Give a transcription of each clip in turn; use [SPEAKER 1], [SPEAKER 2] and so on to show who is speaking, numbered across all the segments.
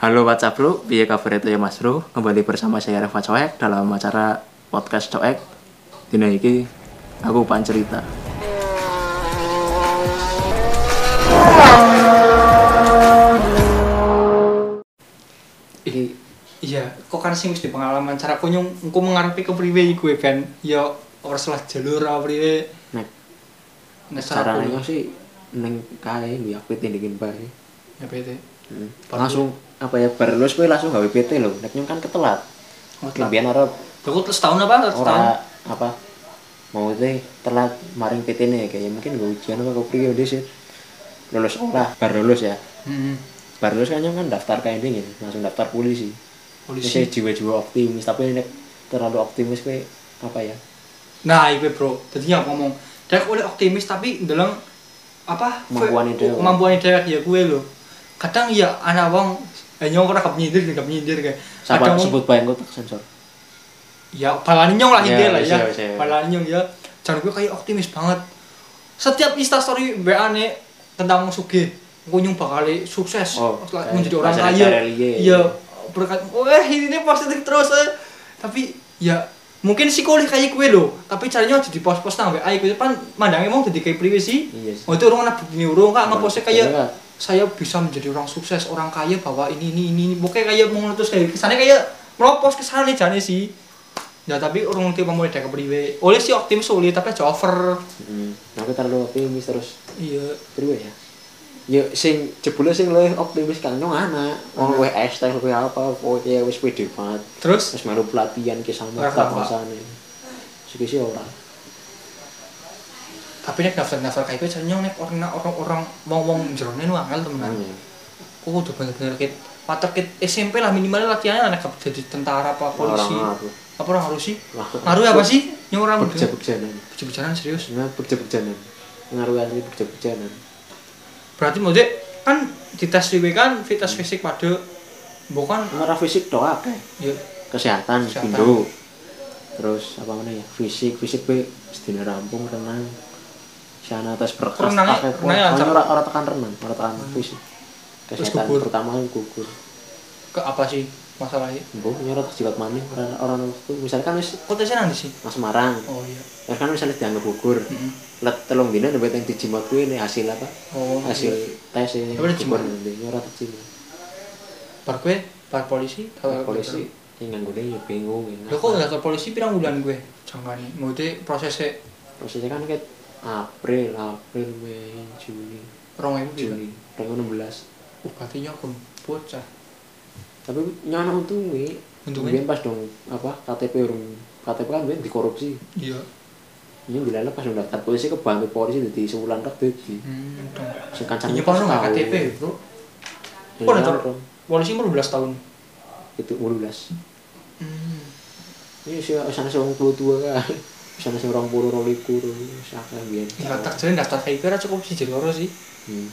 [SPEAKER 1] Halo WhatsApp Bro, piye kabar itu ya Mas Bro? Kembali bersama saya Reva Coek dalam acara podcast Coek. Dina iki aku pan cerita.
[SPEAKER 2] Ih, iya kok kan sing wis di pengalaman cara aku nyung engko mengarepi ke priwe iku ben ya ora salah jalur ora priwe
[SPEAKER 3] Nek
[SPEAKER 2] nek cara
[SPEAKER 3] carane
[SPEAKER 2] aku
[SPEAKER 3] sih ning kae nggo aku tindikin bae.
[SPEAKER 2] ya bete
[SPEAKER 3] Hmm. Langsung apa ya bar lulus kowe langsung gawe PT lho. Nek nyung kan ketelat.
[SPEAKER 1] Oh,
[SPEAKER 3] Kemudian arep
[SPEAKER 2] Aku terus tahun apa? Terus tahun.
[SPEAKER 3] ora apa mau teh telat maring PT ne kayak mungkin gue ujian apa gue priyo deh sih. Lulus ora bar lulus ya.
[SPEAKER 2] Hmm.
[SPEAKER 3] Bar lulus kan nyung kan daftar kae dingin, langsung daftar polisi. Polisi
[SPEAKER 2] Polisi.
[SPEAKER 3] jiwa-jiwa optimis tapi nek terlalu optimis kowe apa ya?
[SPEAKER 2] Nah, iku bro. Tadinya aku ngomong, dek oleh optimis tapi ndeleng apa?
[SPEAKER 3] Kemampuannya dhewe.
[SPEAKER 2] Kemampuan dhewe ya kuwe lho. Kadang ya ana wong hanya ora kap nyindir, kap nyindir kayak.
[SPEAKER 3] Sabar
[SPEAKER 2] wong-
[SPEAKER 3] sebut bae engko tak sensor.
[SPEAKER 2] ya balani nyong lah
[SPEAKER 3] Ya,
[SPEAKER 2] intinya lah
[SPEAKER 3] bisa,
[SPEAKER 2] ya
[SPEAKER 3] bisa, ya.
[SPEAKER 2] balani nyong ya jangan gue kayak optimis banget setiap instastory WA nih tentang suge gue nyong bakal sukses
[SPEAKER 3] Oh,
[SPEAKER 2] setelah
[SPEAKER 3] kayak
[SPEAKER 2] menjadi orang
[SPEAKER 3] masyarakat
[SPEAKER 2] kaya
[SPEAKER 3] reliye.
[SPEAKER 2] iya berkat wah ini nih positif terus eh. tapi ya mungkin sih kulit kayak gue loh tapi caranya jadi pos-pos nang WA gue kan mandangnya mau jadi kayak priwe sih
[SPEAKER 3] Iya sih.
[SPEAKER 2] oh itu orang anak begini urung kak
[SPEAKER 3] Orang
[SPEAKER 2] ngeposnya kayak
[SPEAKER 3] kaya.
[SPEAKER 2] saya bisa menjadi orang sukses orang kaya bahwa ini ini ini ini. pokoknya kayak mau terus kayak gitu. kesannya kayak melopos kesannya jane sih ya tapi orang tipe mulai dari kepriwe oleh si optimis sulit tapi aja over
[SPEAKER 3] Hmm. Aku terlalu optimis terus
[SPEAKER 2] iya
[SPEAKER 3] Terus ya. Ya sing jebule sing luwih optimis kan nyong ana. Wong luwih estek luwih apa pokoke ya wis pede banget.
[SPEAKER 2] terus
[SPEAKER 3] Wis melu pelatihan ki sama
[SPEAKER 2] Ora kelapa.
[SPEAKER 3] kawasan. Sik sih ya ora.
[SPEAKER 2] tapi nek daftar daftar kayak gue nyong nek orang orang orang mau mau jerone nu angel temenan
[SPEAKER 3] Hmm.
[SPEAKER 2] aku udah bener bener kit Water kit SMP lah minimalnya latihannya anak jadi tentara apa polisi
[SPEAKER 3] Orang ngaruh.
[SPEAKER 2] apa orang harus sih
[SPEAKER 3] Wah.
[SPEAKER 2] ngaruh apa sih nyong orang muda
[SPEAKER 3] Beja-bejanan.
[SPEAKER 2] bicara serius
[SPEAKER 3] Sebenarnya beja-bejanan. Ngaruh asli beja-bejanan.
[SPEAKER 2] berarti maksudnya kan di tes IW kan tes fisik pada bukan
[SPEAKER 3] Ora fisik tok akeh.
[SPEAKER 2] ya
[SPEAKER 3] Kesehatan
[SPEAKER 2] Kesehatan.
[SPEAKER 3] pindho. Terus apa mana ya? Fisik, fisik be sedina rampung renang. Sana tes berkas
[SPEAKER 2] Renangnya-
[SPEAKER 3] pakai kuah.
[SPEAKER 2] renangnya lancar. Hmm.
[SPEAKER 3] Soalnya ora ora tekan renang, ora tekan fisik.
[SPEAKER 2] Terus
[SPEAKER 3] Kesehatan
[SPEAKER 2] gugur.
[SPEAKER 3] pertama gugur.
[SPEAKER 2] ke apa sih masalahnya
[SPEAKER 3] Mbok nyorot jilat maning orang orang waktu misalkan wis
[SPEAKER 2] kok tesnya nanti sih
[SPEAKER 3] Mas Marang,
[SPEAKER 2] oh iya
[SPEAKER 3] ya kan misalnya dianggap gugur,
[SPEAKER 2] Mm-mm.
[SPEAKER 3] let telung dina nembe teng dijimat kuwi ini hasil apa?
[SPEAKER 2] oh
[SPEAKER 3] Hasil tes ini gugur
[SPEAKER 2] Apa dijimat?
[SPEAKER 3] nanti nyorot jimat.
[SPEAKER 2] bar gue bar polisi
[SPEAKER 3] Nah, polisi yang nganggone ya bingung. ya.
[SPEAKER 2] lo Oh, kok daftar polisi pirang bulan gue jangan nih maksudnya prosesnya
[SPEAKER 3] prosesnya kan kayak April, April, Mei, Juni,
[SPEAKER 2] orang ibu gitu
[SPEAKER 3] Juli, tanggal 16.
[SPEAKER 2] uh berarti nyok belum bocah
[SPEAKER 3] Tapi nyana untungnya,
[SPEAKER 2] Untungnya?
[SPEAKER 3] kemudian pas dong apa KTP urung KTP kan ben dikorupsi.
[SPEAKER 2] iya
[SPEAKER 3] Ini bilang pas dong daftar polisi kebantu polisi jadi sebulan tak jadi.
[SPEAKER 2] hmm dong
[SPEAKER 3] Sing kancane
[SPEAKER 2] ini paling
[SPEAKER 3] pas
[SPEAKER 2] nggak
[SPEAKER 3] Kan tahu.
[SPEAKER 2] KTP bro
[SPEAKER 3] Ya,
[SPEAKER 2] Kok daftar?
[SPEAKER 3] dong.
[SPEAKER 2] polisi umur 12 tahun
[SPEAKER 3] itu umur 12
[SPEAKER 2] hmm
[SPEAKER 3] ini sih sana sih orang puluh tua kan sana sih orang puluh orang likur sakit biar
[SPEAKER 2] daftar jadi daftar kayak gue cukup sih jadi orang sih
[SPEAKER 3] hmm.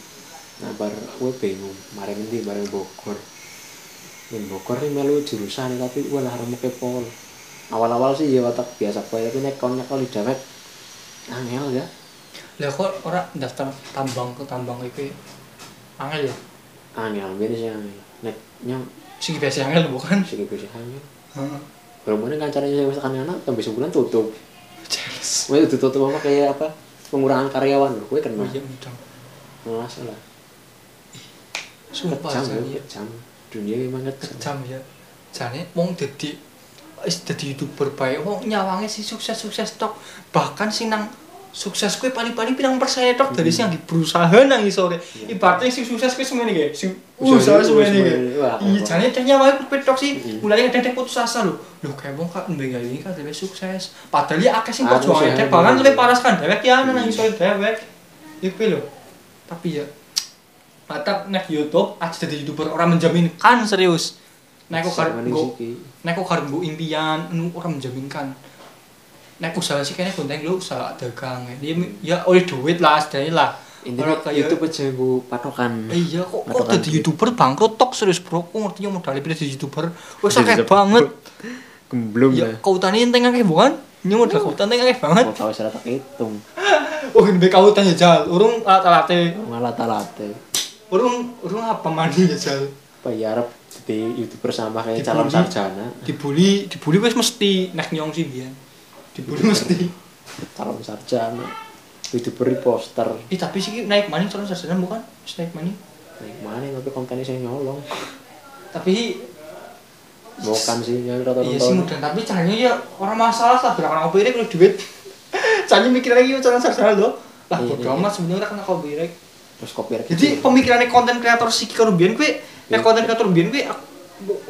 [SPEAKER 3] nah bar gue bingung mari nanti bareng Bogor dan Bogor ini melu jurusan tapi gue lah harus pakai pol awal-awal sih ya watak biasa pol tapi nek kalau kalau di dawet angel ya
[SPEAKER 2] lah kok orang daftar tambang ke tambang itu angel ya
[SPEAKER 3] angel biar sih angel nek nyang
[SPEAKER 2] segi biasa angel bukan
[SPEAKER 3] sih bisa angel
[SPEAKER 2] Heeh.
[SPEAKER 3] Berhubungan kan caranya saya masakan anak, tambah sebulan tutup.
[SPEAKER 2] jelas
[SPEAKER 3] Gue tutup apa kayak apa? Pengurangan karyawan, gue kena.
[SPEAKER 2] oh
[SPEAKER 3] Oh,
[SPEAKER 2] iya udah
[SPEAKER 3] lah.
[SPEAKER 2] sumpah
[SPEAKER 3] kejam
[SPEAKER 2] Jan,
[SPEAKER 3] ya,
[SPEAKER 2] iya.
[SPEAKER 3] kejam dunia memang kejam
[SPEAKER 2] kejam ya jane wong dadi is dadi youtuber bae wong nyawange si sukses-sukses tok bahkan sing nang sukses kuwi paling-paling pirang persen tok dari sing yang berusaha nang isore ibaratnya sing sukses kuwi semene ge sing
[SPEAKER 3] Usaha
[SPEAKER 2] usaha
[SPEAKER 3] kuwi
[SPEAKER 2] semene ge
[SPEAKER 3] semene, wah.
[SPEAKER 2] iya jane teh nyawange kuwi tok sih
[SPEAKER 3] Mm-mm.
[SPEAKER 2] mulane kadang teh putus asa lho lho kae wong kak ndek gawe iki kan dhewe sukses padahal ya akeh sing
[SPEAKER 3] Aku sih,
[SPEAKER 2] perjuangan teh
[SPEAKER 3] aku
[SPEAKER 2] bahkan
[SPEAKER 3] sih.
[SPEAKER 2] lebih paras kan dewek ya nang isore dewek iku lho tapi ya Atap nek YouTube aja jadi youtuber orang menjaminkan serius. Nek aku
[SPEAKER 3] Sama
[SPEAKER 2] karep
[SPEAKER 3] nih
[SPEAKER 2] nggo
[SPEAKER 3] Ziki.
[SPEAKER 2] nek aku karep nggo impian anu orang menjaminkan. Nek usaha sih kene gonteng lu usaha dagang. Ya ya oleh duit lah sedene lah.
[SPEAKER 3] intinya
[SPEAKER 2] Orang kaya-
[SPEAKER 3] YouTube aja gue patokan
[SPEAKER 2] Eh, Iya kok kok
[SPEAKER 3] Patokan
[SPEAKER 2] jadi
[SPEAKER 3] duit.
[SPEAKER 2] YouTuber bangkrut tok serius bro. Aku ngerti yo modal jadi YouTuber. Wes
[SPEAKER 3] Jadi
[SPEAKER 2] akeh
[SPEAKER 3] sep-
[SPEAKER 2] banget.
[SPEAKER 3] gemblung
[SPEAKER 2] Ya kautane enteng akeh bukan? Nyu modal kautan enteng akeh banget.
[SPEAKER 3] mau tahu secara tak hitung
[SPEAKER 2] Oh, ngene kautan ya jal. Urung alat-alate.
[SPEAKER 3] ngalat alate
[SPEAKER 2] Urung urung apa mandi ya jal.
[SPEAKER 3] apa ya Arab di youtuber sama kayak
[SPEAKER 2] Dibully.
[SPEAKER 3] calon sarjana
[SPEAKER 2] dibully dibully wes mesti nek nyong sih biyen dibully mesti
[SPEAKER 3] calon sarjana youtuber poster
[SPEAKER 2] Ih tapi sih Ki, naik maning calon sarjana bukan Wis naik maning
[SPEAKER 3] naik mana tapi kontennya saya nyolong
[SPEAKER 2] tapi
[SPEAKER 3] bukan sih ya
[SPEAKER 2] iya sih
[SPEAKER 3] rata-rata
[SPEAKER 2] mudah tapi caranya ya orang masalah lah berapa orang copyright kalau duit caranya mikirnya lagi calon sarjana loh lah
[SPEAKER 3] Iya,
[SPEAKER 2] bodo
[SPEAKER 3] iya.
[SPEAKER 2] amat sebenarnya ora kena copyright
[SPEAKER 3] terus kopi
[SPEAKER 2] jadi pemikirannya konten kreator sih karo biyen kuwi nek konten kreator biyen kuwi ak-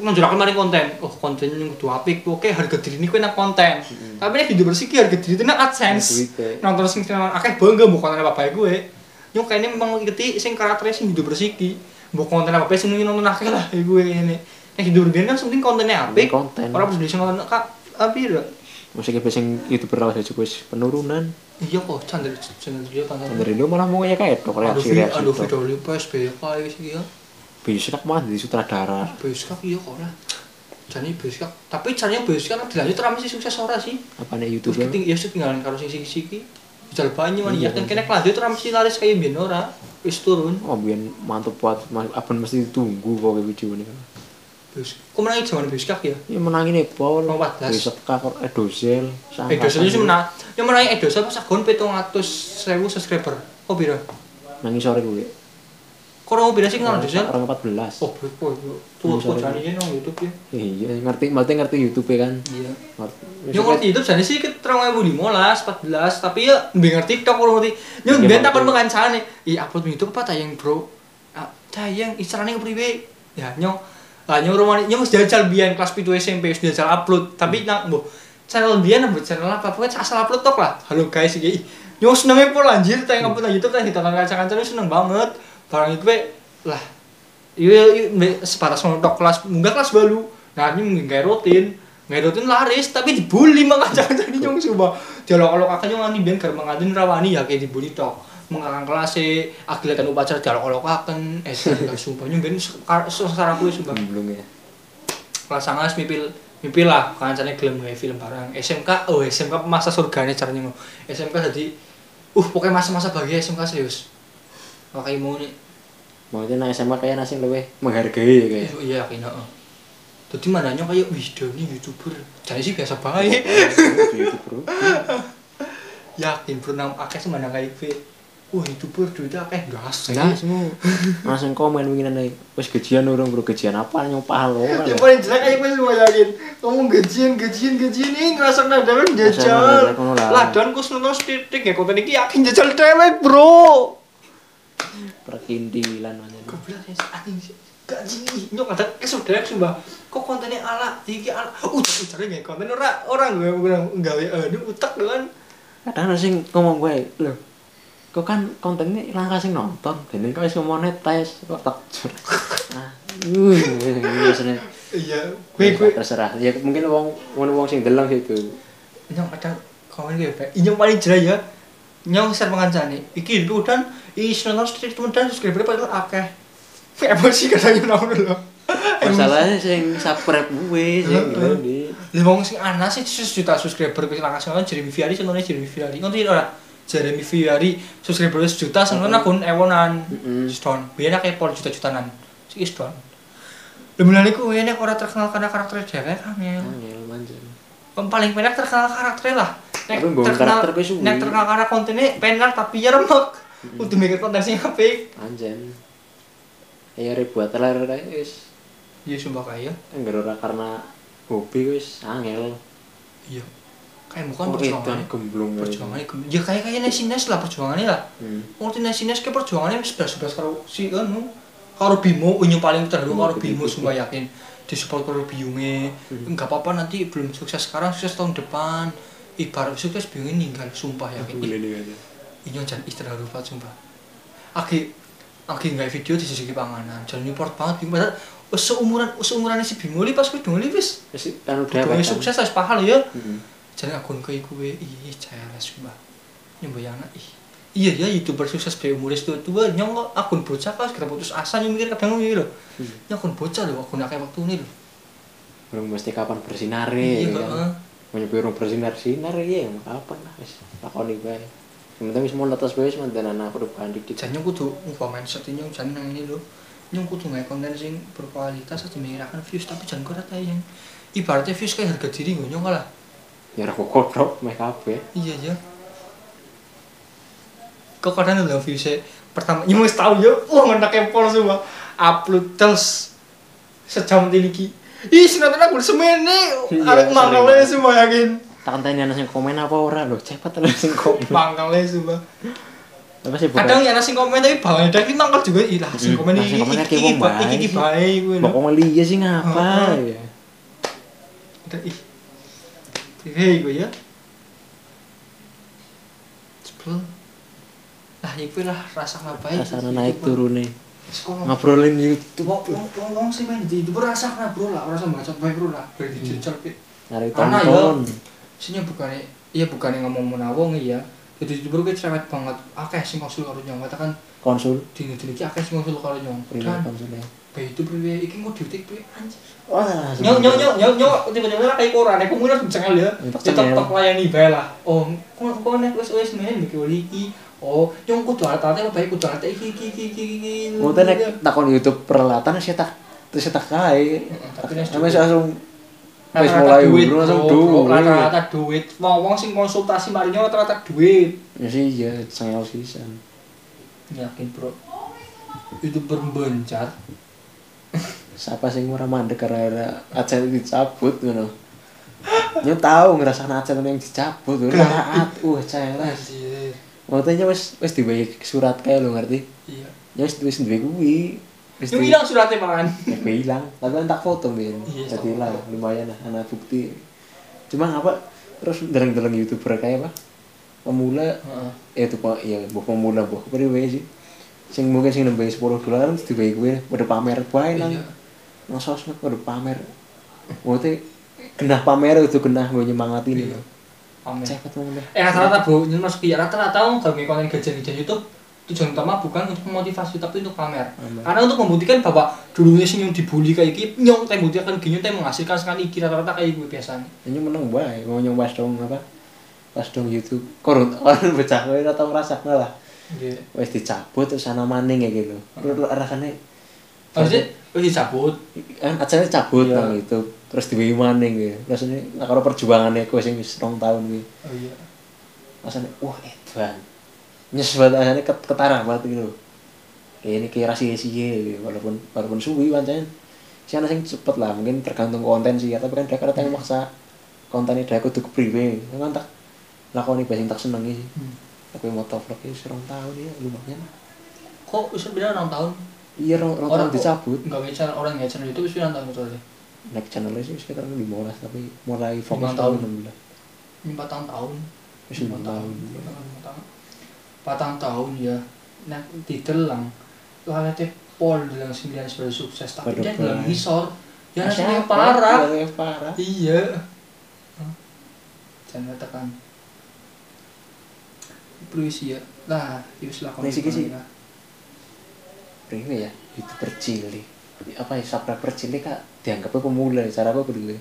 [SPEAKER 2] nonjorakan maring konten oh konten yang kudu apik oke harga diri ini kuwi nek konten tapi nek video bersih ki harga diri itu nek adsense
[SPEAKER 3] Duit, ya.
[SPEAKER 2] nonton sing channel akeh bangga mau konten apa bae gue yo kayaknya memang ngikuti sing karakternya sing video bersih ki mau konten apa bae sing nonton akeh lah ya gue ini nek video bersih kan penting kontennya apik
[SPEAKER 3] konten.
[SPEAKER 2] orang produksi nonton kak ah, tapi
[SPEAKER 3] musiknya biasanya youtuber lah juga wis penurunan
[SPEAKER 2] iya kok candel candel dia konten
[SPEAKER 3] dan dari dulu malah mau kayak kayak dok
[SPEAKER 2] aduh
[SPEAKER 3] reaksi reaksi
[SPEAKER 2] vi- Iya. aduh
[SPEAKER 3] dok
[SPEAKER 2] video lipa SBK sih ya
[SPEAKER 3] bisa mah jadi sutradara
[SPEAKER 2] Bioskop iya kok lah. Jane bioskop, tapi caranya bioskop kan dilanjut rame sih sukses ora sih.
[SPEAKER 3] apa nih
[SPEAKER 2] Terus
[SPEAKER 3] youtuber
[SPEAKER 2] keting ya sih tinggalan karo sing siki-siki. Jal banyu man
[SPEAKER 3] Iya,
[SPEAKER 2] ya kan
[SPEAKER 3] kan.
[SPEAKER 2] kene lanjut rame sih laris kaya biyen ora. Wis turun.
[SPEAKER 3] oh biar mantep buat mas- abon mesti ditunggu pokoknya video ini
[SPEAKER 2] Bioskop. Kok menangi jaman bioskop ya?
[SPEAKER 3] ini menangin nih Paul
[SPEAKER 2] Rong 14.
[SPEAKER 3] bisa kakor eh dosel
[SPEAKER 2] Eh dosa sih menang. Yang menangi eh dosa pas sagon 700.000 subscriber. Oh pira?
[SPEAKER 3] nangis sore gue
[SPEAKER 2] Kok ora pira sih nang dosa?
[SPEAKER 3] orang empat belas
[SPEAKER 2] Oh, bro, bro, bro. tuh tuh
[SPEAKER 3] Sorry.
[SPEAKER 2] jane ini nang YouTube ya.
[SPEAKER 3] iya ngerti berarti ngerti YouTube kan
[SPEAKER 2] Iya.
[SPEAKER 3] ngerti
[SPEAKER 2] Yang ngerti itu jane sih ke 2015, 14, tapi ya mbek ngerti TikTok ora ngerti. Yang ben takon mekancane, "I upload YouTube apa tayang, Bro?" "Ah, tayang istilahnya priwe?" Ya nyong. Lah nyong rumah nyong wis jajal biyen kelas 7 SMP wis jajal upload, tapi nang mbuh channel biyen mbuh channel apa pokoknya asal upload tok lah. Halo guys iki. Nyong senenge po lanjut tayang upload nang YouTube tayang ditonton kanca-kancane seneng banget. Barang itu we, lah Iya, iya, separas tok kelas, munggah kelas baru. Nah, ini nggak rutin, nggak rutin laris, tapi dibully makanya jadi nyong coba. Dialog-alog akan nyong ani biar mengadun rawani ya kayak dibully tok. Mengarang kelas e, akilatan upacara dialog-alog akan, eh sumpah sumpah nyong ben sekarang gue sumpah.
[SPEAKER 3] belum ya
[SPEAKER 2] Kelas sangas mipil mipil lah, kancane gelem gawe film barang. SMK, oh SMK masa surgane caranya nyong. SMK jadi, uh pokoknya masa-masa bahagia SMK serius. Makanya mau nih,
[SPEAKER 3] maksudnya nang SMA kayak nasi lebih menghargai ya kayak
[SPEAKER 2] Iya, iya yakin heeh. Dadi mananya kayak wih Doni YouTuber. Jane sih biasa bae.
[SPEAKER 3] YouTuber
[SPEAKER 2] yakin bro nang akeh sih mandang kayak gue. Wah, YouTuber duitnya akeh gas.
[SPEAKER 3] nah semua langsung komen mungkin nih wes gajian orang bro gajian apa nyong pahal lo kan
[SPEAKER 2] Yang paling jelek kayak gue semua yakin. Kamu gajian, gajian, gajian ini ngerasa nada kan jajal.
[SPEAKER 3] Ngerasa nada, ngerasa nada.
[SPEAKER 2] Lah, dan gue seneng titik ya konten ini yakin jajal cewek bro.
[SPEAKER 3] perkindilan aja
[SPEAKER 2] Goblok ya sih, anjing sih. Gaji nyok ada kesudahnya sumpah. Kok kontennya ala iki ala utak utaknya nggak konten ora orang gue bilang gawe aduh utak doang.
[SPEAKER 3] kadang ada sing ngomong gue lo kok kan kontennya langka sing nonton dan ini kok wis monetize kok tak jur ah uh biasanya
[SPEAKER 2] Iya, gue gue
[SPEAKER 3] terserah ya mungkin wong wong wong sing deleng gitu
[SPEAKER 2] nyong ada komen gue pak ini yang paling jelek ya nyong share pengancane iki itu dan isi nonton street temen dan subscriber padahal akeh emosi katanya nong dulu
[SPEAKER 3] masalahnya sing subscribe gue sing gitu di
[SPEAKER 2] Lha wong sing ana sih sejuta subscriber kuwi langsung nonton Jeremy Fiari senone Jeremy Fiari. Ngerti ora? Jeremy Fiari subscriber sejuta senone akun ewonan.
[SPEAKER 3] Mm-mm.
[SPEAKER 2] Ston. Biyen akeh pol juta-jutaan. Sik Ston. Lha mulane kuwi nek ora terkenal karena karakter ya. dhewe angel.
[SPEAKER 3] angel manjen
[SPEAKER 2] Yang paling penak terkenal karakternya lah nek
[SPEAKER 3] Tapi mbok
[SPEAKER 2] terkenal
[SPEAKER 3] karakter kuwi suwi.
[SPEAKER 2] nek terkenal karena kontennya penak tapi ya remek
[SPEAKER 3] Hmm.
[SPEAKER 2] udah mikir konten sing apik
[SPEAKER 3] anjen ya ribuat lah wis
[SPEAKER 2] iya sumpah kaya
[SPEAKER 3] enggak ora karena hobi wis angel
[SPEAKER 2] iya kayak bukan
[SPEAKER 3] kok edan
[SPEAKER 2] perjuangannya
[SPEAKER 3] gemblung ya.
[SPEAKER 2] perjuangannya gem- ya kayak kayak nesines lah perjuangannya lah
[SPEAKER 3] Hmm.
[SPEAKER 2] ngerti nesines kayak perjuangannya sebelas sebelas karo si anu karo Bimo ini paling terlalu
[SPEAKER 3] Bimo,
[SPEAKER 2] karo
[SPEAKER 3] Hmm, betul,
[SPEAKER 2] Bimo
[SPEAKER 3] betul. Hmm.
[SPEAKER 2] sumpah yakin disupport karo Biyunge nggak apa-apa nanti belum sukses sekarang sukses tahun depan ibarat sukses Biyunge ninggal sumpah yakin Ih,
[SPEAKER 3] ini aja
[SPEAKER 2] Inyo jan istirahat lupa sumpah. Aki aki nggak video di sisi panganan. Jan nyupport banget Bimo. Padahal wes seumuran seumurannya si Bimo li pas kuwi dongeli wis.
[SPEAKER 3] wis kan udah
[SPEAKER 2] Dongeli sukses wis pahal ya.
[SPEAKER 3] Heeh.
[SPEAKER 2] Jan akun kuwi kuwe ih celes sumpah. Nyembayana ih. Iya ya youtuber sukses be umur tua tua nyong kok akun bocah kok segera putus asa nyong mikir kadang ngono lho. Nyong akun bocah lho akun akeh wektune lho.
[SPEAKER 3] Belum mesti kapan bersinar ya
[SPEAKER 2] Iya, heeh.
[SPEAKER 3] kan. Menyebut urung bersinar sinar ya emang kapan lah wis lakoni bae. Yang penting wis mau netes bae wis mandan anak perubahan didik.
[SPEAKER 2] Jan nyong kudu ngubah mindset nyong jan nang ini lho. nyung kudu nggak konten sing berkualitas aja mengirakan views tapi jangan kau rata yang ya. ibaratnya views kayak harga diri gue nyong lah
[SPEAKER 3] ya ora kok kodok meh kabeh
[SPEAKER 2] iya ya kok kadang udah viewsnya pertama nyung wis tau ya wah ngenak empol semua upload terus sejam tinggi ih sinetron aku semene
[SPEAKER 3] Iya,
[SPEAKER 2] arek mangkalnya semua yakin
[SPEAKER 3] tak enteni ana sing komen apa ora lho cepet ana sing komen
[SPEAKER 2] mangkalnya e semua
[SPEAKER 3] apa sih
[SPEAKER 2] kadang ya nasi komen tapi bawahnya ada kita mangkal juga ih lah nasi
[SPEAKER 3] Hmm.
[SPEAKER 2] komen
[SPEAKER 3] Lah,
[SPEAKER 2] iki
[SPEAKER 3] sing komen
[SPEAKER 2] iki
[SPEAKER 3] iki
[SPEAKER 2] iki
[SPEAKER 3] wong
[SPEAKER 2] ba-
[SPEAKER 3] bae
[SPEAKER 2] iki iki
[SPEAKER 3] sih.
[SPEAKER 2] bae gue
[SPEAKER 3] Mbok ngomel iya sih ngapa
[SPEAKER 2] Heeh.
[SPEAKER 3] ya.
[SPEAKER 2] ih hei gue ya sebel lah iku lah rasa ngapain
[SPEAKER 3] Rasane naik turune.
[SPEAKER 2] sekolah
[SPEAKER 3] Ngobrolin YouTube.
[SPEAKER 2] wong wong wong wong sih main di itu rasa kena bro lah rasa baca bae bro lah berarti jujur
[SPEAKER 3] Nyari
[SPEAKER 2] Ana,
[SPEAKER 3] tonton.
[SPEAKER 2] Isinya bukannya, iya bukannya ngomong menawong iya. Jadi jujur gue cerewet banget. Akeh sih maksud karo nyong katakan
[SPEAKER 3] Konsul.
[SPEAKER 2] dino dino iki akeh sing ngusul karo nyong.
[SPEAKER 3] Priwe
[SPEAKER 2] Dan
[SPEAKER 3] konsulnya.
[SPEAKER 2] bayi itu priwe iki mau diutik priwe anjir.
[SPEAKER 3] Wah,
[SPEAKER 2] Nyong nyong nyong nyong nyong tiba-tiba kayak koran aku mulai cengel ya.
[SPEAKER 3] Tetep
[SPEAKER 2] Tetep
[SPEAKER 3] cengel.
[SPEAKER 2] tetep layani bae lah. Oh, kok kok nek wis wis men iki oli iki. Oh, nyong kudu arek-arek apa bayi kudu arek iki iki iki iki. iki.
[SPEAKER 3] Ngoten nek takon YouTube peralatan sih tak terus tak kae.
[SPEAKER 2] tapi nek
[SPEAKER 3] Sampai langsung wis
[SPEAKER 2] Rata-rata
[SPEAKER 3] mulai
[SPEAKER 2] duit, Oh,
[SPEAKER 3] urung langsung
[SPEAKER 2] bro, bro.
[SPEAKER 3] duwe.
[SPEAKER 2] Rata-rata duit. Wong-wong sing konsultasi marinya rata-rata duit.
[SPEAKER 3] Ya sih ya sengel sisan.
[SPEAKER 2] Yakin bro Itu berbencar
[SPEAKER 3] Siapa sing ora mandek gara-gara AdSense dicabut ngono. Nyo tahu ngerasa AdSense yang dicabut ora taat. Wah, celes.
[SPEAKER 2] Anjir
[SPEAKER 3] Maksudnya wis wis dibayar surat kae lho ngerti.
[SPEAKER 2] Iya
[SPEAKER 3] Ya wis wis duwe kuwi. Wis
[SPEAKER 2] Itu hilang suratnya malahan
[SPEAKER 3] Ya gue hilang, tapi kan tak foto bin.
[SPEAKER 2] Iya,
[SPEAKER 3] Jadi lah lumayan lah, anak bukti. Cuma apa? Terus dereng-dereng youtuber kayak apa? Pemula,
[SPEAKER 2] Heeh.
[SPEAKER 3] eh itu pak, ya buh pemula buh periwe sih. Sing mungkin sing nembeng sepuluh dolar kan dibayar gue pada pamer gue nang
[SPEAKER 2] Iya.
[SPEAKER 3] nang sosmed pada pamer. Maksudnya genah pamer itu genah gue nyemangati nih.
[SPEAKER 2] Iya. Amin
[SPEAKER 3] Cepet banget deh.
[SPEAKER 2] Eh rata-rata bro Ini masuk iya Rata-rata orang gak konten gajian-gajian Youtube Tujuan utama bukan untuk memotivasi Tapi untuk pamer Karena untuk membuktikan bahwa Dulunya sih nyung dibully kayak gini Nyung tapi membuktikan gini Tapi menghasilkan sekali iki Rata-rata kayak gue biasanya
[SPEAKER 3] Ini menang bae, mau nyong pas dong apa? Pas dong YouTube, korun orang pecah gue atau ngerasa lah.
[SPEAKER 2] Iya
[SPEAKER 3] wes dicabut terus ana maning ya gitu. Terus rasane
[SPEAKER 2] Maksudnya Terus dicabut
[SPEAKER 3] kan acaranya cabut
[SPEAKER 2] Oh, Iya.
[SPEAKER 3] nang itu terus diwehi maning gitu. Rasane nek karo perjuangane kowe sing wis rong tahun gitu. kuwi.
[SPEAKER 2] Oh iya
[SPEAKER 3] Rasane wah edan. Nyes banget rasane ket- ketara banget gitu. Kayak ini kira sia-sia gitu. walaupun walaupun suwi pancen. Si ana sing cepet lah mungkin tergantung konten sih ya, tapi kan dhek kadang maksa kontennya dhek kudu kepriwe. Kan tak lakoni bae sing tak senengi sih.
[SPEAKER 2] Hmm.
[SPEAKER 3] Tapi motovlog itu serong tahun ya lumayan.
[SPEAKER 2] Kok bisa bilang orang tahun
[SPEAKER 3] Iya, rong, rong tahun
[SPEAKER 2] Orang
[SPEAKER 3] dicabut.
[SPEAKER 2] Enggak bicara orang nggak bicara Youtube Bisa tahun soalnya
[SPEAKER 3] naik channelnya sih sekitar 15 tapi mulai fokus
[SPEAKER 2] Lima tahun.
[SPEAKER 3] tahun 16
[SPEAKER 2] empat tahun tahun
[SPEAKER 3] Wis lima tahun.
[SPEAKER 2] Lima tahun. empat tahun tahun ya nah didelang lalete pol dalam sembilan sebagai sukses tapi
[SPEAKER 3] Waduh,
[SPEAKER 2] dia dalam
[SPEAKER 3] Bray.
[SPEAKER 2] ngisor ya
[SPEAKER 3] Masih
[SPEAKER 2] rasanya
[SPEAKER 3] apa?
[SPEAKER 2] parah
[SPEAKER 3] Rasanya parah
[SPEAKER 2] iya Hah? jangan katakan Please ya lah yus lah gitu, ya.
[SPEAKER 3] Nih, siki, siki.
[SPEAKER 2] lah.
[SPEAKER 3] Priwe ya youtuber cilik apa ya subscriber cilik kak dianggapnya pemula ya, cara aku berdua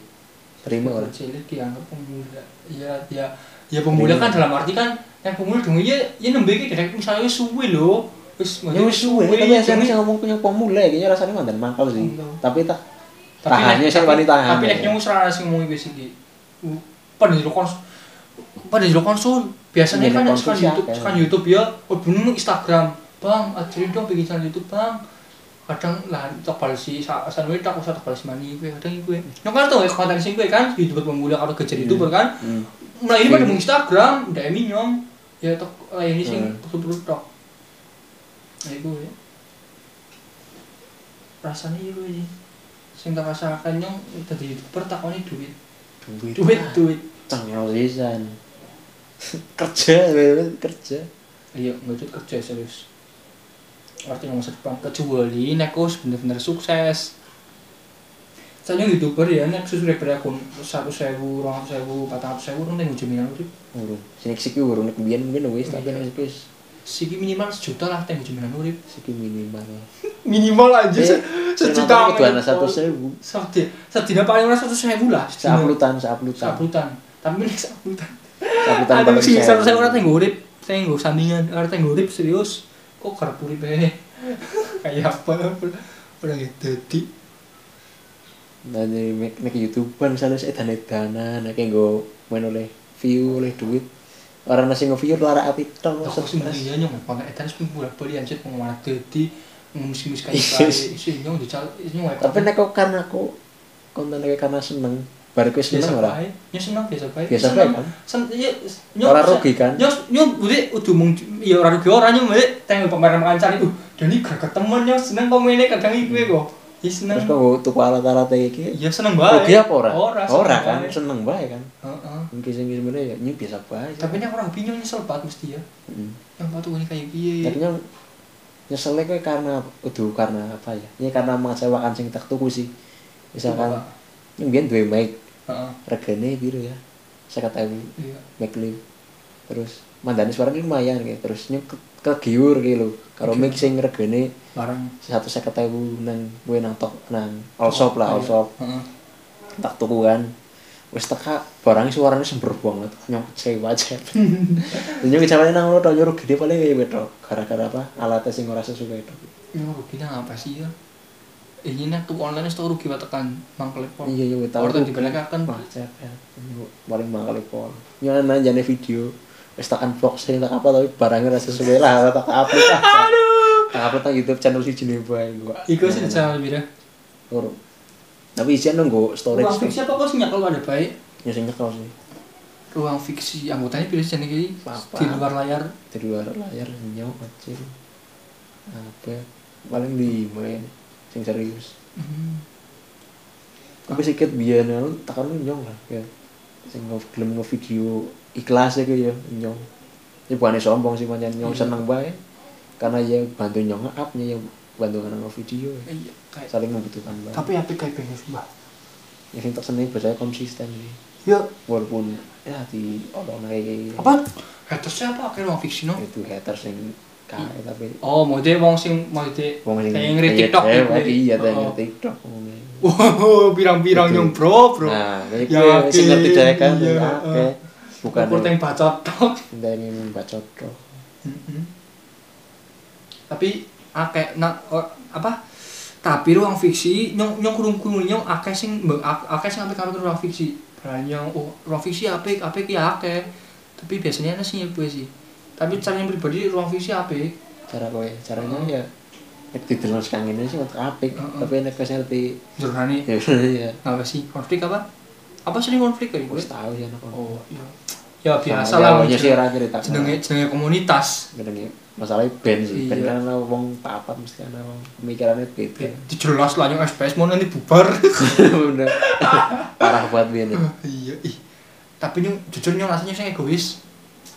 [SPEAKER 3] terima orang
[SPEAKER 2] cilik dianggap pemula ya ya ya pemula kan dalam arti kan yang pemula dong ya ya nembe iki direk misalnya wis suwe lho wis
[SPEAKER 3] ya wis suwe tapi yang saya ngomong punya pemula ya kayaknya rasanya mantan mangkal sih
[SPEAKER 2] Enggak.
[SPEAKER 3] tapi tak
[SPEAKER 2] Tapi
[SPEAKER 3] tahannya
[SPEAKER 2] nek-
[SPEAKER 3] sih
[SPEAKER 2] tapi-
[SPEAKER 3] wani tahan
[SPEAKER 2] Tapi nek nyung serana sing ngomong wis iki. Pada jero konsul pada jero konsul
[SPEAKER 3] Iya,
[SPEAKER 2] biasanya kan
[SPEAKER 3] nek
[SPEAKER 2] nek sekan
[SPEAKER 3] konsul
[SPEAKER 2] YouTube,
[SPEAKER 3] siapa?
[SPEAKER 2] sekan YouTube ya, oh bener Instagram. Bang, ajarin dong bikin channel YouTube, Bang. Kadang lah tak balik sih, asan wae tak usah tak balik mani gue kadang gue. Nyong kan tuh konten sing gue kan YouTuber pemula karo gejer YouTuber kan.
[SPEAKER 3] Hmm.
[SPEAKER 2] Mulai ini pada mung Instagram, ndak emi nyong. Ya tok ini sing
[SPEAKER 3] Hmm.
[SPEAKER 2] perlu-perlu tok. Ya gue ya. Rasanya iya gue sih sing tak rasakan nyong dadi youtuber takoni duit
[SPEAKER 3] duit
[SPEAKER 2] duit Nah. duit
[SPEAKER 3] cengel sisan kerja bener-bener kerja
[SPEAKER 2] iya nggak cukup kerja serius artinya masa depan kecuali nek aku bener-bener sukses saya nyong youtuber ya nek subscriber aku satu sewu rong sewu empat ratus sewu nanti ujung minimal urip
[SPEAKER 3] urung sinik siki urung nek biyen mungkin wis tapi
[SPEAKER 2] Iya.
[SPEAKER 3] nek siki wis
[SPEAKER 2] siki minimal sejuta lah teh ujung minimal urip
[SPEAKER 3] siki minimal
[SPEAKER 2] minimal aja
[SPEAKER 3] Eh,
[SPEAKER 2] se- sejuta Iya.
[SPEAKER 3] dua satu sewu
[SPEAKER 2] sedih sedih paling murah satu sewu lah
[SPEAKER 3] saplutan saplutan
[SPEAKER 2] sabutan tapi nek sabutan
[SPEAKER 3] saplutan
[SPEAKER 2] Aduh
[SPEAKER 3] paling
[SPEAKER 2] sih,
[SPEAKER 3] sewu.
[SPEAKER 2] satu saya orang tenggo urip, tenggo sandingan, orang tenggo urip serius, kok kerap urip aja. Kayak apa? orang ya dadi
[SPEAKER 3] dan jadi mek nek youtuber misalnya saya dana dana nek nggo main oleh view oleh duit orang nasi nge-view lara api tong
[SPEAKER 2] aku sing
[SPEAKER 3] stres
[SPEAKER 2] iya nyong konek etan sing bolak balik anjir pengen dadi ngemis-ngemis
[SPEAKER 3] Iya.
[SPEAKER 2] kayak sih nyong dical nyong wae.
[SPEAKER 3] tapi nek kok karena aku konten nek karena seneng baru aku ya
[SPEAKER 2] biasa
[SPEAKER 3] seneng ora
[SPEAKER 2] bae nyong seneng biasa bae
[SPEAKER 3] Biasa
[SPEAKER 2] Seneng.
[SPEAKER 3] bae, kan?
[SPEAKER 2] Sen- iya, s-
[SPEAKER 3] Ora
[SPEAKER 2] bisa-
[SPEAKER 3] rugi, kan?
[SPEAKER 2] nyong nyong udah udah mung ya ora rugi ora nyong udah tengok pameran kancan itu dan ini gak ketemu nyong seneng kok ngene kadang iku kok ya seneng
[SPEAKER 3] terus kok nggo tuku alat-alat kayak gini
[SPEAKER 2] ya seneng bae
[SPEAKER 3] rugi apa ora
[SPEAKER 2] ora
[SPEAKER 3] ora
[SPEAKER 2] seneng
[SPEAKER 3] kan
[SPEAKER 2] bae.
[SPEAKER 3] seneng bae kan
[SPEAKER 2] Heeh.
[SPEAKER 3] mungkin sing sebenarnya ya ini biasa bae
[SPEAKER 2] tapi ini aku rapi nyong nyesel banget mesti ya
[SPEAKER 3] Mm.
[SPEAKER 2] yang batu ini kayak piye
[SPEAKER 3] Tapi nyong nyeselnya kowe karena aduh karena apa ya? Ini karena mengecewakan sing tak tuku sih. Misalkan
[SPEAKER 2] Apa?
[SPEAKER 3] yang biyen duwe mic
[SPEAKER 2] Heeh.
[SPEAKER 3] regane biru ya. 50.000
[SPEAKER 2] iya
[SPEAKER 3] mic li. Terus mandane suara ini lumayan kayak terus nyong ke, kegiur gitu lho. Karo mic sing regane
[SPEAKER 2] barang
[SPEAKER 3] 150.000 nang kowe nang tok nang all shop lah, all shop.
[SPEAKER 2] Iya. Heeh.
[SPEAKER 3] Tak tuku kan. Wis teka barangnya suaranya sember banget. Nyong kecewa aja. Nyong kecewa nang ngono tok nyuruh gede paling ya wedok. Gara-gara apa? Alatnya sing ora sesuai itu.
[SPEAKER 2] ya ruginya apa sih ya ini nih tuh online itu rugi banget kan mang telepon
[SPEAKER 3] Iya, iya, tahu.
[SPEAKER 2] tahu orang dibalakakan
[SPEAKER 3] Wah, cepet. Paling mahal pol. Nyana jane kan video wis tak unboxing tak apa tapi barangnya ra sesuai lah tak upload. Aduh. Tak upload nang YouTube channel si Jeneba iku.
[SPEAKER 2] Iku sih jangan lebih dah.
[SPEAKER 3] Loro. Nah, Tapi isian nunggu storage.
[SPEAKER 2] Ruang fiksi apa kok sih kalau ada baik?
[SPEAKER 3] Ya sing nyekel sih
[SPEAKER 2] Ruang fiksi anggotanya pilih jenis ini
[SPEAKER 3] Apa?
[SPEAKER 2] di luar layar.
[SPEAKER 3] di luar layar nyaw kecil. Apa? Paling lima ya sing serius.
[SPEAKER 2] Hmm.
[SPEAKER 3] Tapi sikit biyen anu, tak kan nyong lah ya. Sing nge- gelem nge-video ikhlas iku ya nyong. Ya, Ini bukannya sombong sih pancen nyong
[SPEAKER 2] Iya.
[SPEAKER 3] seneng bae. Karena ya bantu nyong up-nya ya bantu karena nge-video. ya.
[SPEAKER 2] Iya, kayak
[SPEAKER 3] Saling membutuhkan bae.
[SPEAKER 2] tapi apa kayak pengen sih mbak?
[SPEAKER 3] Ya sing tak seneng biasanya konsisten sih.
[SPEAKER 2] Ya,
[SPEAKER 3] Walaupun ya di orang kayak
[SPEAKER 2] apa? Hatersnya apa? Kayak ruang fiksi no?
[SPEAKER 3] itu hater sing kae tapi
[SPEAKER 2] Oh, mau dia wong sing mau dia
[SPEAKER 3] wong sing
[SPEAKER 2] kayak ngeri TikTok
[SPEAKER 3] kayak-
[SPEAKER 2] gitu.
[SPEAKER 3] kayak- iya kayak
[SPEAKER 2] Oh.
[SPEAKER 3] ngeri TikTok ngomongnya.
[SPEAKER 2] Wow, pirang-pirang
[SPEAKER 3] Betul.
[SPEAKER 2] nyong bro, bro. Ya,
[SPEAKER 3] Nah, kayak gue sing ngerti dhewe kan
[SPEAKER 2] Iya,
[SPEAKER 3] akeh.
[SPEAKER 2] Bukan.
[SPEAKER 3] Bukan
[SPEAKER 2] Kurang bacot tok.
[SPEAKER 3] ndang membaca tok.
[SPEAKER 2] Mm-mm. Mm-hmm. tapi ah, akeh nak o- oh, apa tapi ruang fiksi nyong nyong kurung kurung nyong akeh sing mbek- ak- akeh sing apik karo ruang fiksi berani nyong oh, ruang fiksi apik apik ya akeh tapi biasanya ana sing ibu sih tapi caranya pribadi ruang fiksi apik
[SPEAKER 3] cara kowe caranya ya nek didelok sekang ini sih untuk apik
[SPEAKER 2] Heeh.
[SPEAKER 3] tapi nek wis ngerti
[SPEAKER 2] jurnane
[SPEAKER 3] ya ya
[SPEAKER 2] apa sih konflik apa apa sering konflik kali
[SPEAKER 3] wis tau ya nek ono.
[SPEAKER 2] oh iya ya biasa lah
[SPEAKER 3] ya sih ora cerita
[SPEAKER 2] jenenge jenenge komunitas
[SPEAKER 3] jenenge masalahnya band sih band
[SPEAKER 2] Iya.
[SPEAKER 3] kan ana wong papat mesti ana wong pemikirannya beda
[SPEAKER 2] dijelas lah nyong SPS mau nanti bubar
[SPEAKER 3] Bener. parah banget biyen ya.
[SPEAKER 2] iya ih tapi nyung jujur nyung rasanya saya egois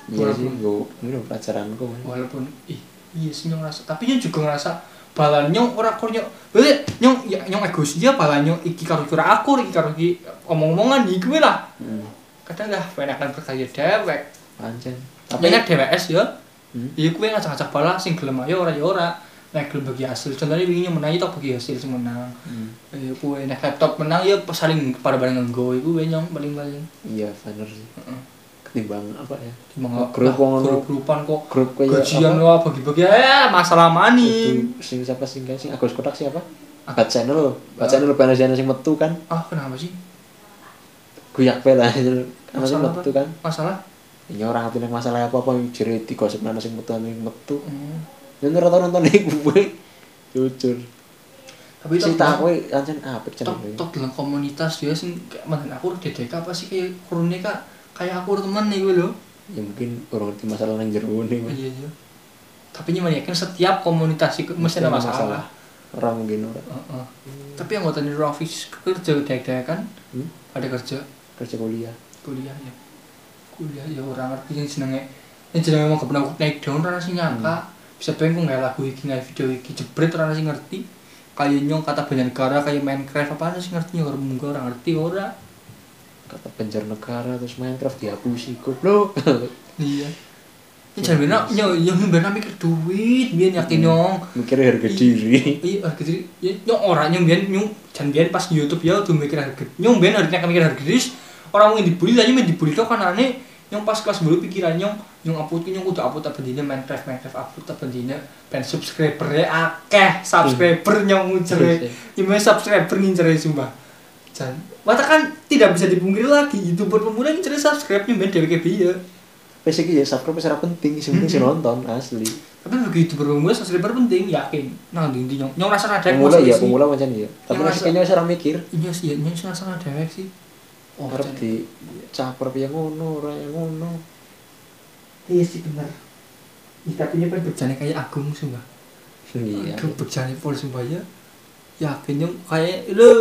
[SPEAKER 3] iya sih gua ini udah pelajaranku man.
[SPEAKER 2] walaupun ih iya sih nyung rasa tapi nyung juga ngerasa balan nyung ora kur nyung berarti nyung ya, nyung egois dia balan nyung iki karo kira aku iki karo iki omong-omongan iki gue lah
[SPEAKER 3] Hmm,
[SPEAKER 2] kadang lah kan penakan berkarya dewek
[SPEAKER 3] pancen
[SPEAKER 2] tapi
[SPEAKER 3] tapi
[SPEAKER 2] nek DWS ya
[SPEAKER 3] Hmm.
[SPEAKER 2] iya gue ngajak-ngajak bala sing gelem ayo ora ya ora nek gelem bagi hasil contohnya wingi nyung menang itu bagi hasil sing menang
[SPEAKER 3] Hmm,
[SPEAKER 2] iya gue nek laptop menang ya saling pada bareng nggo iku gue nyung paling-paling
[SPEAKER 3] iya bener sih
[SPEAKER 2] Heeh.
[SPEAKER 3] ketimbang apa ya
[SPEAKER 2] Mengapa
[SPEAKER 3] Grup wong ngono.
[SPEAKER 2] grup-grupan kok
[SPEAKER 3] grup kayak
[SPEAKER 2] gajian
[SPEAKER 3] apa,
[SPEAKER 2] wah bagi-bagi eh masalah
[SPEAKER 3] itu
[SPEAKER 2] money
[SPEAKER 3] sing siapa sing kayak sing Agus Kotak siapa Bad Channel Bad Channel banner channel sing metu kan
[SPEAKER 2] ah kenapa sih
[SPEAKER 3] guyak pe lah ana sing
[SPEAKER 2] masalah
[SPEAKER 3] metu kan
[SPEAKER 2] masalah
[SPEAKER 3] ini orang ngerti nek masalah apa apa jere digosip ana sing metu ana sing metu
[SPEAKER 2] Hmm.
[SPEAKER 3] yen ora tau nonton iku gue jujur
[SPEAKER 2] tapi
[SPEAKER 3] tapi
[SPEAKER 2] itu
[SPEAKER 3] cerita aku ancen apik
[SPEAKER 2] top
[SPEAKER 3] channel
[SPEAKER 2] top dalam komunitas dia sing kayak mantan aku DDK apa sih kayak kurunnya kak kayak aku teman nih gue loh
[SPEAKER 3] ya mungkin orang ngerti masalah nang jero ne
[SPEAKER 2] iya iya tapi nyaman yakin setiap komunitas itu mesti ada masalah
[SPEAKER 3] ora mungkin ora
[SPEAKER 2] Heeh. tapi anggota di ruang fisik kerja dek kan
[SPEAKER 3] Hmm?
[SPEAKER 2] ada kerja
[SPEAKER 3] kerja kuliah
[SPEAKER 2] kuliah ya kuliah ya orang ngerti yang jenenge yang jenenge mau kebenar naik daun orang sih nyangka bisa pengen nggak lagu iki nggak video iki jebret orang sih ngerti kayak nyong kata banyak negara kayak Minecraft apa sih ngerti orang mungkin orang ngerti orang
[SPEAKER 3] kata penjara negara terus Minecraft dihapusi goblok
[SPEAKER 2] iya ini jangan benar nyong nyong benar mikir duit biar yakin nyong
[SPEAKER 3] mikirnya harga diri
[SPEAKER 2] iya harga diri ya, nyong orang nyong biar nyong jangan biar pas di YouTube ya tuh mikir harga nyong biar harusnya mikir harga diri orang mau dibully aja mau dibully tuh kan aneh nyong pas kelas dulu pikiran nyong nyong aput ki nyong kudu aput apa dina Minecraft Minecraft aput apa dina ben subscriber e
[SPEAKER 3] Hmm.
[SPEAKER 2] akeh subscriber nyong
[SPEAKER 3] Iya,
[SPEAKER 2] ngucere nyong subscriber ngincere sumpah jan wata kan tidak bisa dipungkiri lagi youtuber pemula e ngincere subscribe nyong ben dheweke piye
[SPEAKER 3] Wis iki ya subscribe secara penting, sing penting sih nonton asli.
[SPEAKER 2] tapi bagi youtuber pemula subscriber penting yakin nah ndi nyong nyong rasa ada
[SPEAKER 3] Pemula ya, pemula macam ya. Tapi
[SPEAKER 2] Yang
[SPEAKER 3] nek
[SPEAKER 2] rasa-
[SPEAKER 3] kene wis ora mikir,
[SPEAKER 2] iya sih nyong rasa ada sih oh
[SPEAKER 3] arep di caper piye ngono, ora yang ngono.
[SPEAKER 2] Iya sih bener. Ih, tapi dia kan bejane kayak Agung sumpah.
[SPEAKER 3] Iya.
[SPEAKER 2] Agung bejane pol sumpah ya. Yakin yang kayak lho.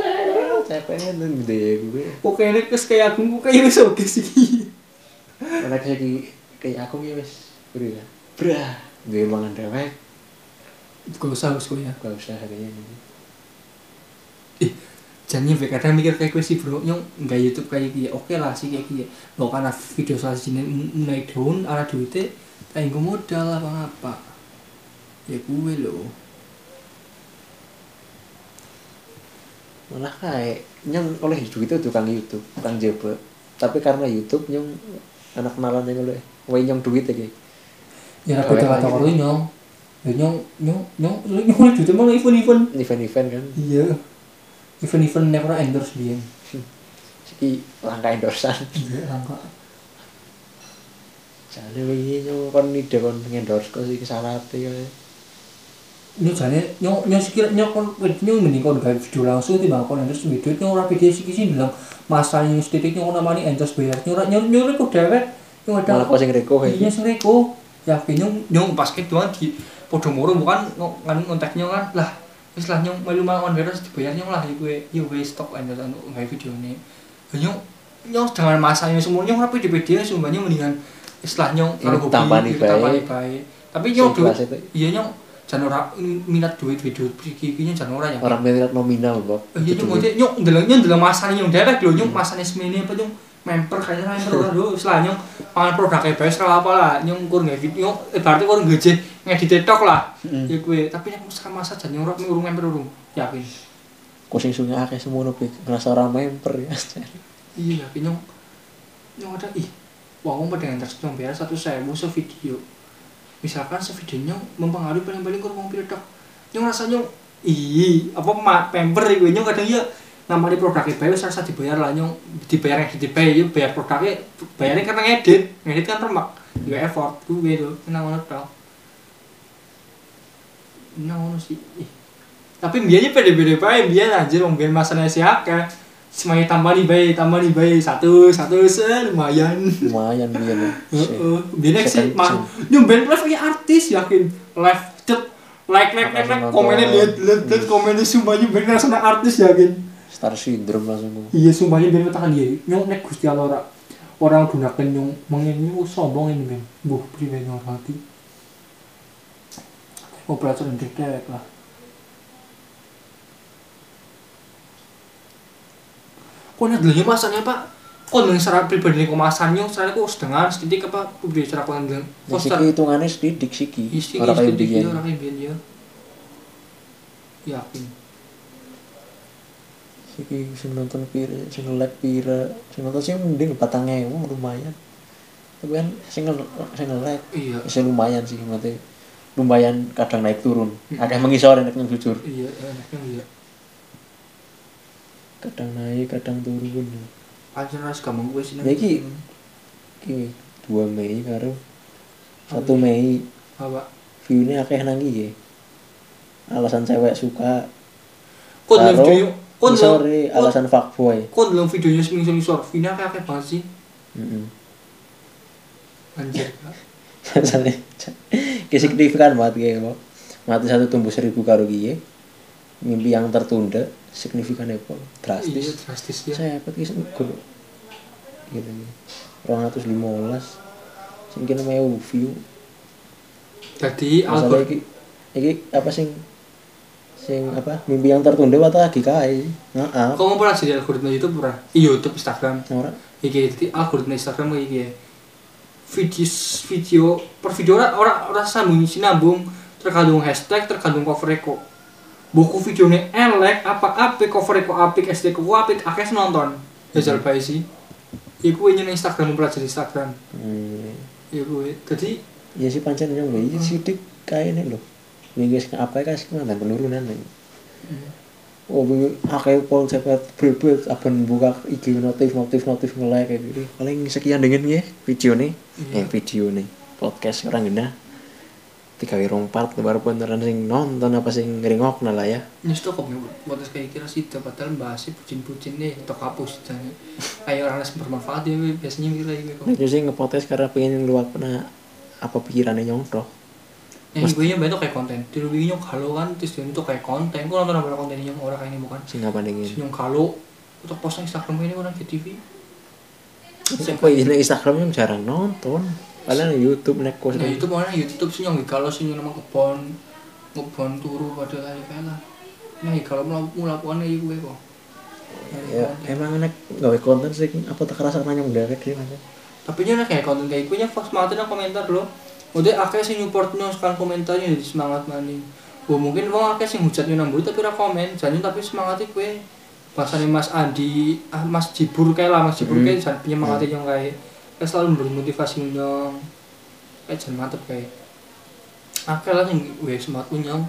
[SPEAKER 3] Ya, Cepetnya nang gede gue.
[SPEAKER 2] Kok kayaknya kes kayak Agung kok kayak wis oke sih.
[SPEAKER 3] Nek saiki kayak aku ya wis beri lah. Brah, duwe mangan dewek,
[SPEAKER 2] Gak usah wis ya.
[SPEAKER 3] gak usah harganya ini.
[SPEAKER 2] Ih, jangan nyampe kadang mikir kayak gue sih bro, nyong nggak YouTube kayak gini, oke lah sih kayak gini. Lo karena video salah sini naik daun, ala duitnya, kayak gue modal apa apa. Ya gue loh.
[SPEAKER 3] malah kayak nyong oleh duit itu tukang YouTube tukang jebol tapi karena YouTube nyong anak kenalan yang oleh wae nyong duit aja
[SPEAKER 2] Ya
[SPEAKER 3] aku udah kata karo
[SPEAKER 2] nyong. Ya nyong nyong nyong nyong nyong duitnya malah event-event
[SPEAKER 3] event-event kan
[SPEAKER 2] Iya. Event-event yang pernah endorse dia.
[SPEAKER 3] siki langkah endorsan
[SPEAKER 2] Iya, langka.
[SPEAKER 3] jadi wae nyong kon ide kon endorse kok sih kesana hati ya
[SPEAKER 2] Ini jane nyok nyok sikira nyok kon nyok mending kon gawe video langsung timbang kon endorse video nyok ora video sik sih bilang masalah yang titik nyok namani endorse bayar nyok nyok nyok kok dewek nyok ada
[SPEAKER 3] malah kok sing reko ya
[SPEAKER 2] Iya sing reko. Ya ben nyong nyong basket doang di podo moro bukan nyok kan kontak nyok kan lah wis lah nyong melu mawon beres dibayar nyong lah iku e. ya wis stok endorse untuk gawe videone. Ya nyong nyong dengan masanya semua nyong rapi di PD semuanya mendingan istilah nyong
[SPEAKER 3] Ini tambani
[SPEAKER 2] gitu, tambani
[SPEAKER 3] baik.
[SPEAKER 2] baik. Tapi nyong
[SPEAKER 3] Sing
[SPEAKER 2] duit
[SPEAKER 3] kelas itu.
[SPEAKER 2] iya nyong jan ora minat duit video iki iki nyong jan ora ya.
[SPEAKER 3] orang minat nominal kok
[SPEAKER 2] Eh, Iya nyong maksudnya nyong ndelok nyong ndelok masane nyong derek lho nyong masane semene apa nyong member kayaknya member ora lho istilah nyong pangan produknya e bae salah apa lah nyong kur nggak video nyong eh, berarti kur ngeje ngedit TikTok lah.
[SPEAKER 3] Mm.
[SPEAKER 2] Ya kuwi tapi nek masa masa jan nyong ora urung member urung yakin.
[SPEAKER 3] kok sing sungai akeh semua nopo ngerasa orang member ya
[SPEAKER 2] Iya yakin nyong nyong ada ih uang pada yang terus nyong bayar satu sewu sevideo. Misalkan sevideonya mempengaruhi paling-paling kurang uang TikTok. Nyong rasa nyong ih apa ma member iku nyong kadang ya namanya produknya bae wis rasa dibayar lah nyong dibayar yang dibayar ya bayar produknya bayarnya karena ngedit ngedit kan remak ya effort gue itu nang ngono tok nang ngono sih ih. tapi biayanya pede-pede bae biar anjir wong biar masane si akeh semuanya tambah nih bae tambah nih bae satu satu se lumayan
[SPEAKER 3] lumayan biar
[SPEAKER 2] Uh,
[SPEAKER 3] lah
[SPEAKER 2] Heeh, binek
[SPEAKER 3] Second
[SPEAKER 2] sih mah nyumben live kayak artis yakin live cep like like like like komennya lihat lihat lihat komennya sumpahnya ben rasa nang artis yakin
[SPEAKER 3] star syndrome langsung gua.
[SPEAKER 2] iya sumpahnya ben tangan dia nyong nek Gusti Allah ora orang gunakan nyong mengenai oh, sombong ini ben buh priwe nyong hati mau belajar dan derek lah kok ini dulunya masanya pak kok dengan secara pribadi kok masanya secara kok sedengan sedikit apa pribadi secara kok dengan
[SPEAKER 3] Nah, siki hitungannya sedidik siki
[SPEAKER 2] Isi
[SPEAKER 3] orang kayak
[SPEAKER 2] dia
[SPEAKER 3] biyen.
[SPEAKER 2] Iya, orang Indian ya. Iya, Yakin.
[SPEAKER 3] Iki sing nonton pira, sing like pira, sing nonton sih mending patang ewu lumayan. Tapi kan sing nge- sing like
[SPEAKER 2] Iya.
[SPEAKER 3] sih lumayan sih mate. Lumayan kadang naik turun.
[SPEAKER 2] Hmm.
[SPEAKER 3] Akeh mengisor nek yang jujur.
[SPEAKER 2] Iya, enaknya iya.
[SPEAKER 3] Kadang naik, kadang turun.
[SPEAKER 2] Anjir harus gampang gue sih.
[SPEAKER 3] Ya iki iki 2 Mei karo 1 Mei
[SPEAKER 2] Apa?
[SPEAKER 3] view-ne akeh nang iki. Alasan cewek suka.
[SPEAKER 2] Kok dalam
[SPEAKER 3] karo
[SPEAKER 2] video? Kok dalam
[SPEAKER 3] Sorry, alasan fuckboy.
[SPEAKER 2] Kok dalam videonya seminggu seminggu Vina kayak kayak banget sih.
[SPEAKER 3] Heeh.
[SPEAKER 2] Anjir.
[SPEAKER 3] Ya, Misalnya, ki signifikan banget kayak kok. Mati satu tumbuh seribu karo kiye. Mimpi yang tertunda signifikan ya kok.
[SPEAKER 2] Iya
[SPEAKER 3] Drastis.
[SPEAKER 2] drastis ya.
[SPEAKER 3] Saya dapat kisah ukur. Gitu nih. Orang ratus lima belas. Singkin namanya view.
[SPEAKER 2] Jadi
[SPEAKER 3] Masalah
[SPEAKER 2] Albert
[SPEAKER 3] iki, iki apa sing sing apa mimpi yang tertunda atau lagi kai
[SPEAKER 2] kok
[SPEAKER 3] ngaap
[SPEAKER 2] mau pernah jadi algoritma YouTube pernah? YouTube, Instagram.
[SPEAKER 3] orang
[SPEAKER 2] Iki jadi algoritma Instagram kayak gini. ya. Video video per video orang orang orang sambung sinambung terkandung hashtag terkandung cover eko. Buku videonya
[SPEAKER 3] Hmm.
[SPEAKER 2] elek apa apik cover eko apik SD ku apik akeh nonton. Jajal bae Ya, sih. ya kuwi nyeneng Instagram mempelajari Instagram
[SPEAKER 3] Hmm.
[SPEAKER 2] ya kuwi dadi
[SPEAKER 3] Ya sih pancen yang bayi sidik kayak ini loh. Nih guys apa ya kasih mantan penurunan nih. Oh, bu- akeh konsep berbeda aben buka IG notif notif notif nge-like kayak gitu. Paling sekian dengan ya video nih. Eh video nih podcast orang gede. Tiga wirung part baru beneran sing nonton apa sing ngeringok nah lah ya.
[SPEAKER 2] Ini tuh kok podcast kayak kira sih padahal bahasnya bucin-bucin nih tok hapus jane. Kayak orang les bermanfaat ya we. biasanya mikir lagi we, kok.
[SPEAKER 3] Nek yo sih ngepotes karena pengen luar pernah apa pikirannya nyontoh.
[SPEAKER 2] Yang ibunya banyak kayak konten. Di rubinya kalau kan terus dia itu kayak konten. Kok nonton apa konten yang orang kayak ini bukan?
[SPEAKER 3] Sing apa nih?
[SPEAKER 2] Senyum kalau untuk posting Instagram ini orang ke TV.
[SPEAKER 3] Kok ini Instagram jarang nonton. Paling YouTube nek kok
[SPEAKER 2] Nah YouTube mana YouTube senyum kalau senyum nama kebon kebon turu pada kali kala. Nah kalau mau melakukan ya gue kok.
[SPEAKER 3] ya emang nek gawe konten sih apa tak kerasa nanya mendadak sih mas
[SPEAKER 2] tapi ini kayak konten kayak gue nya fokus banget nang komentar lo udah akhirnya sih support nyo sekarang kan komentarnya jadi semangat maning gue mungkin wong akeh sih hujat nyo namburi tapi ora komen jangan tapi semangatnya gue pasannya mas Andi ah, mas Jibur kayak lah mas Jibur kayak jangan punya semangatnya yang kayak kayak selalu memberi motivasi nyo kayak jangan mantep kayak akhirnya lah yang gue semangat nyo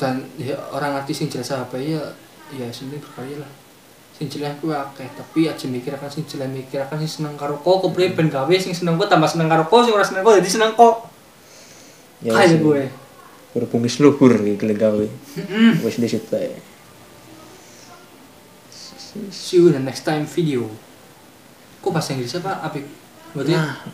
[SPEAKER 2] dan ya, orang artis yang jasa apa ya ya sini berkarya lah sing jelek kuwi akeh tapi aja mikir akan sing jelek mikir akan sing seneng karo kok kepriye ben gawe sing seneng kok tambah seneng karo kok sing ora seneng kok jadi seneng kok
[SPEAKER 3] Ya,
[SPEAKER 2] kaya gue
[SPEAKER 3] berhubung luhur gitu lah gawe wis di situ ya
[SPEAKER 2] see you in the next time video kok bahasa Inggris apa apik berarti
[SPEAKER 3] nah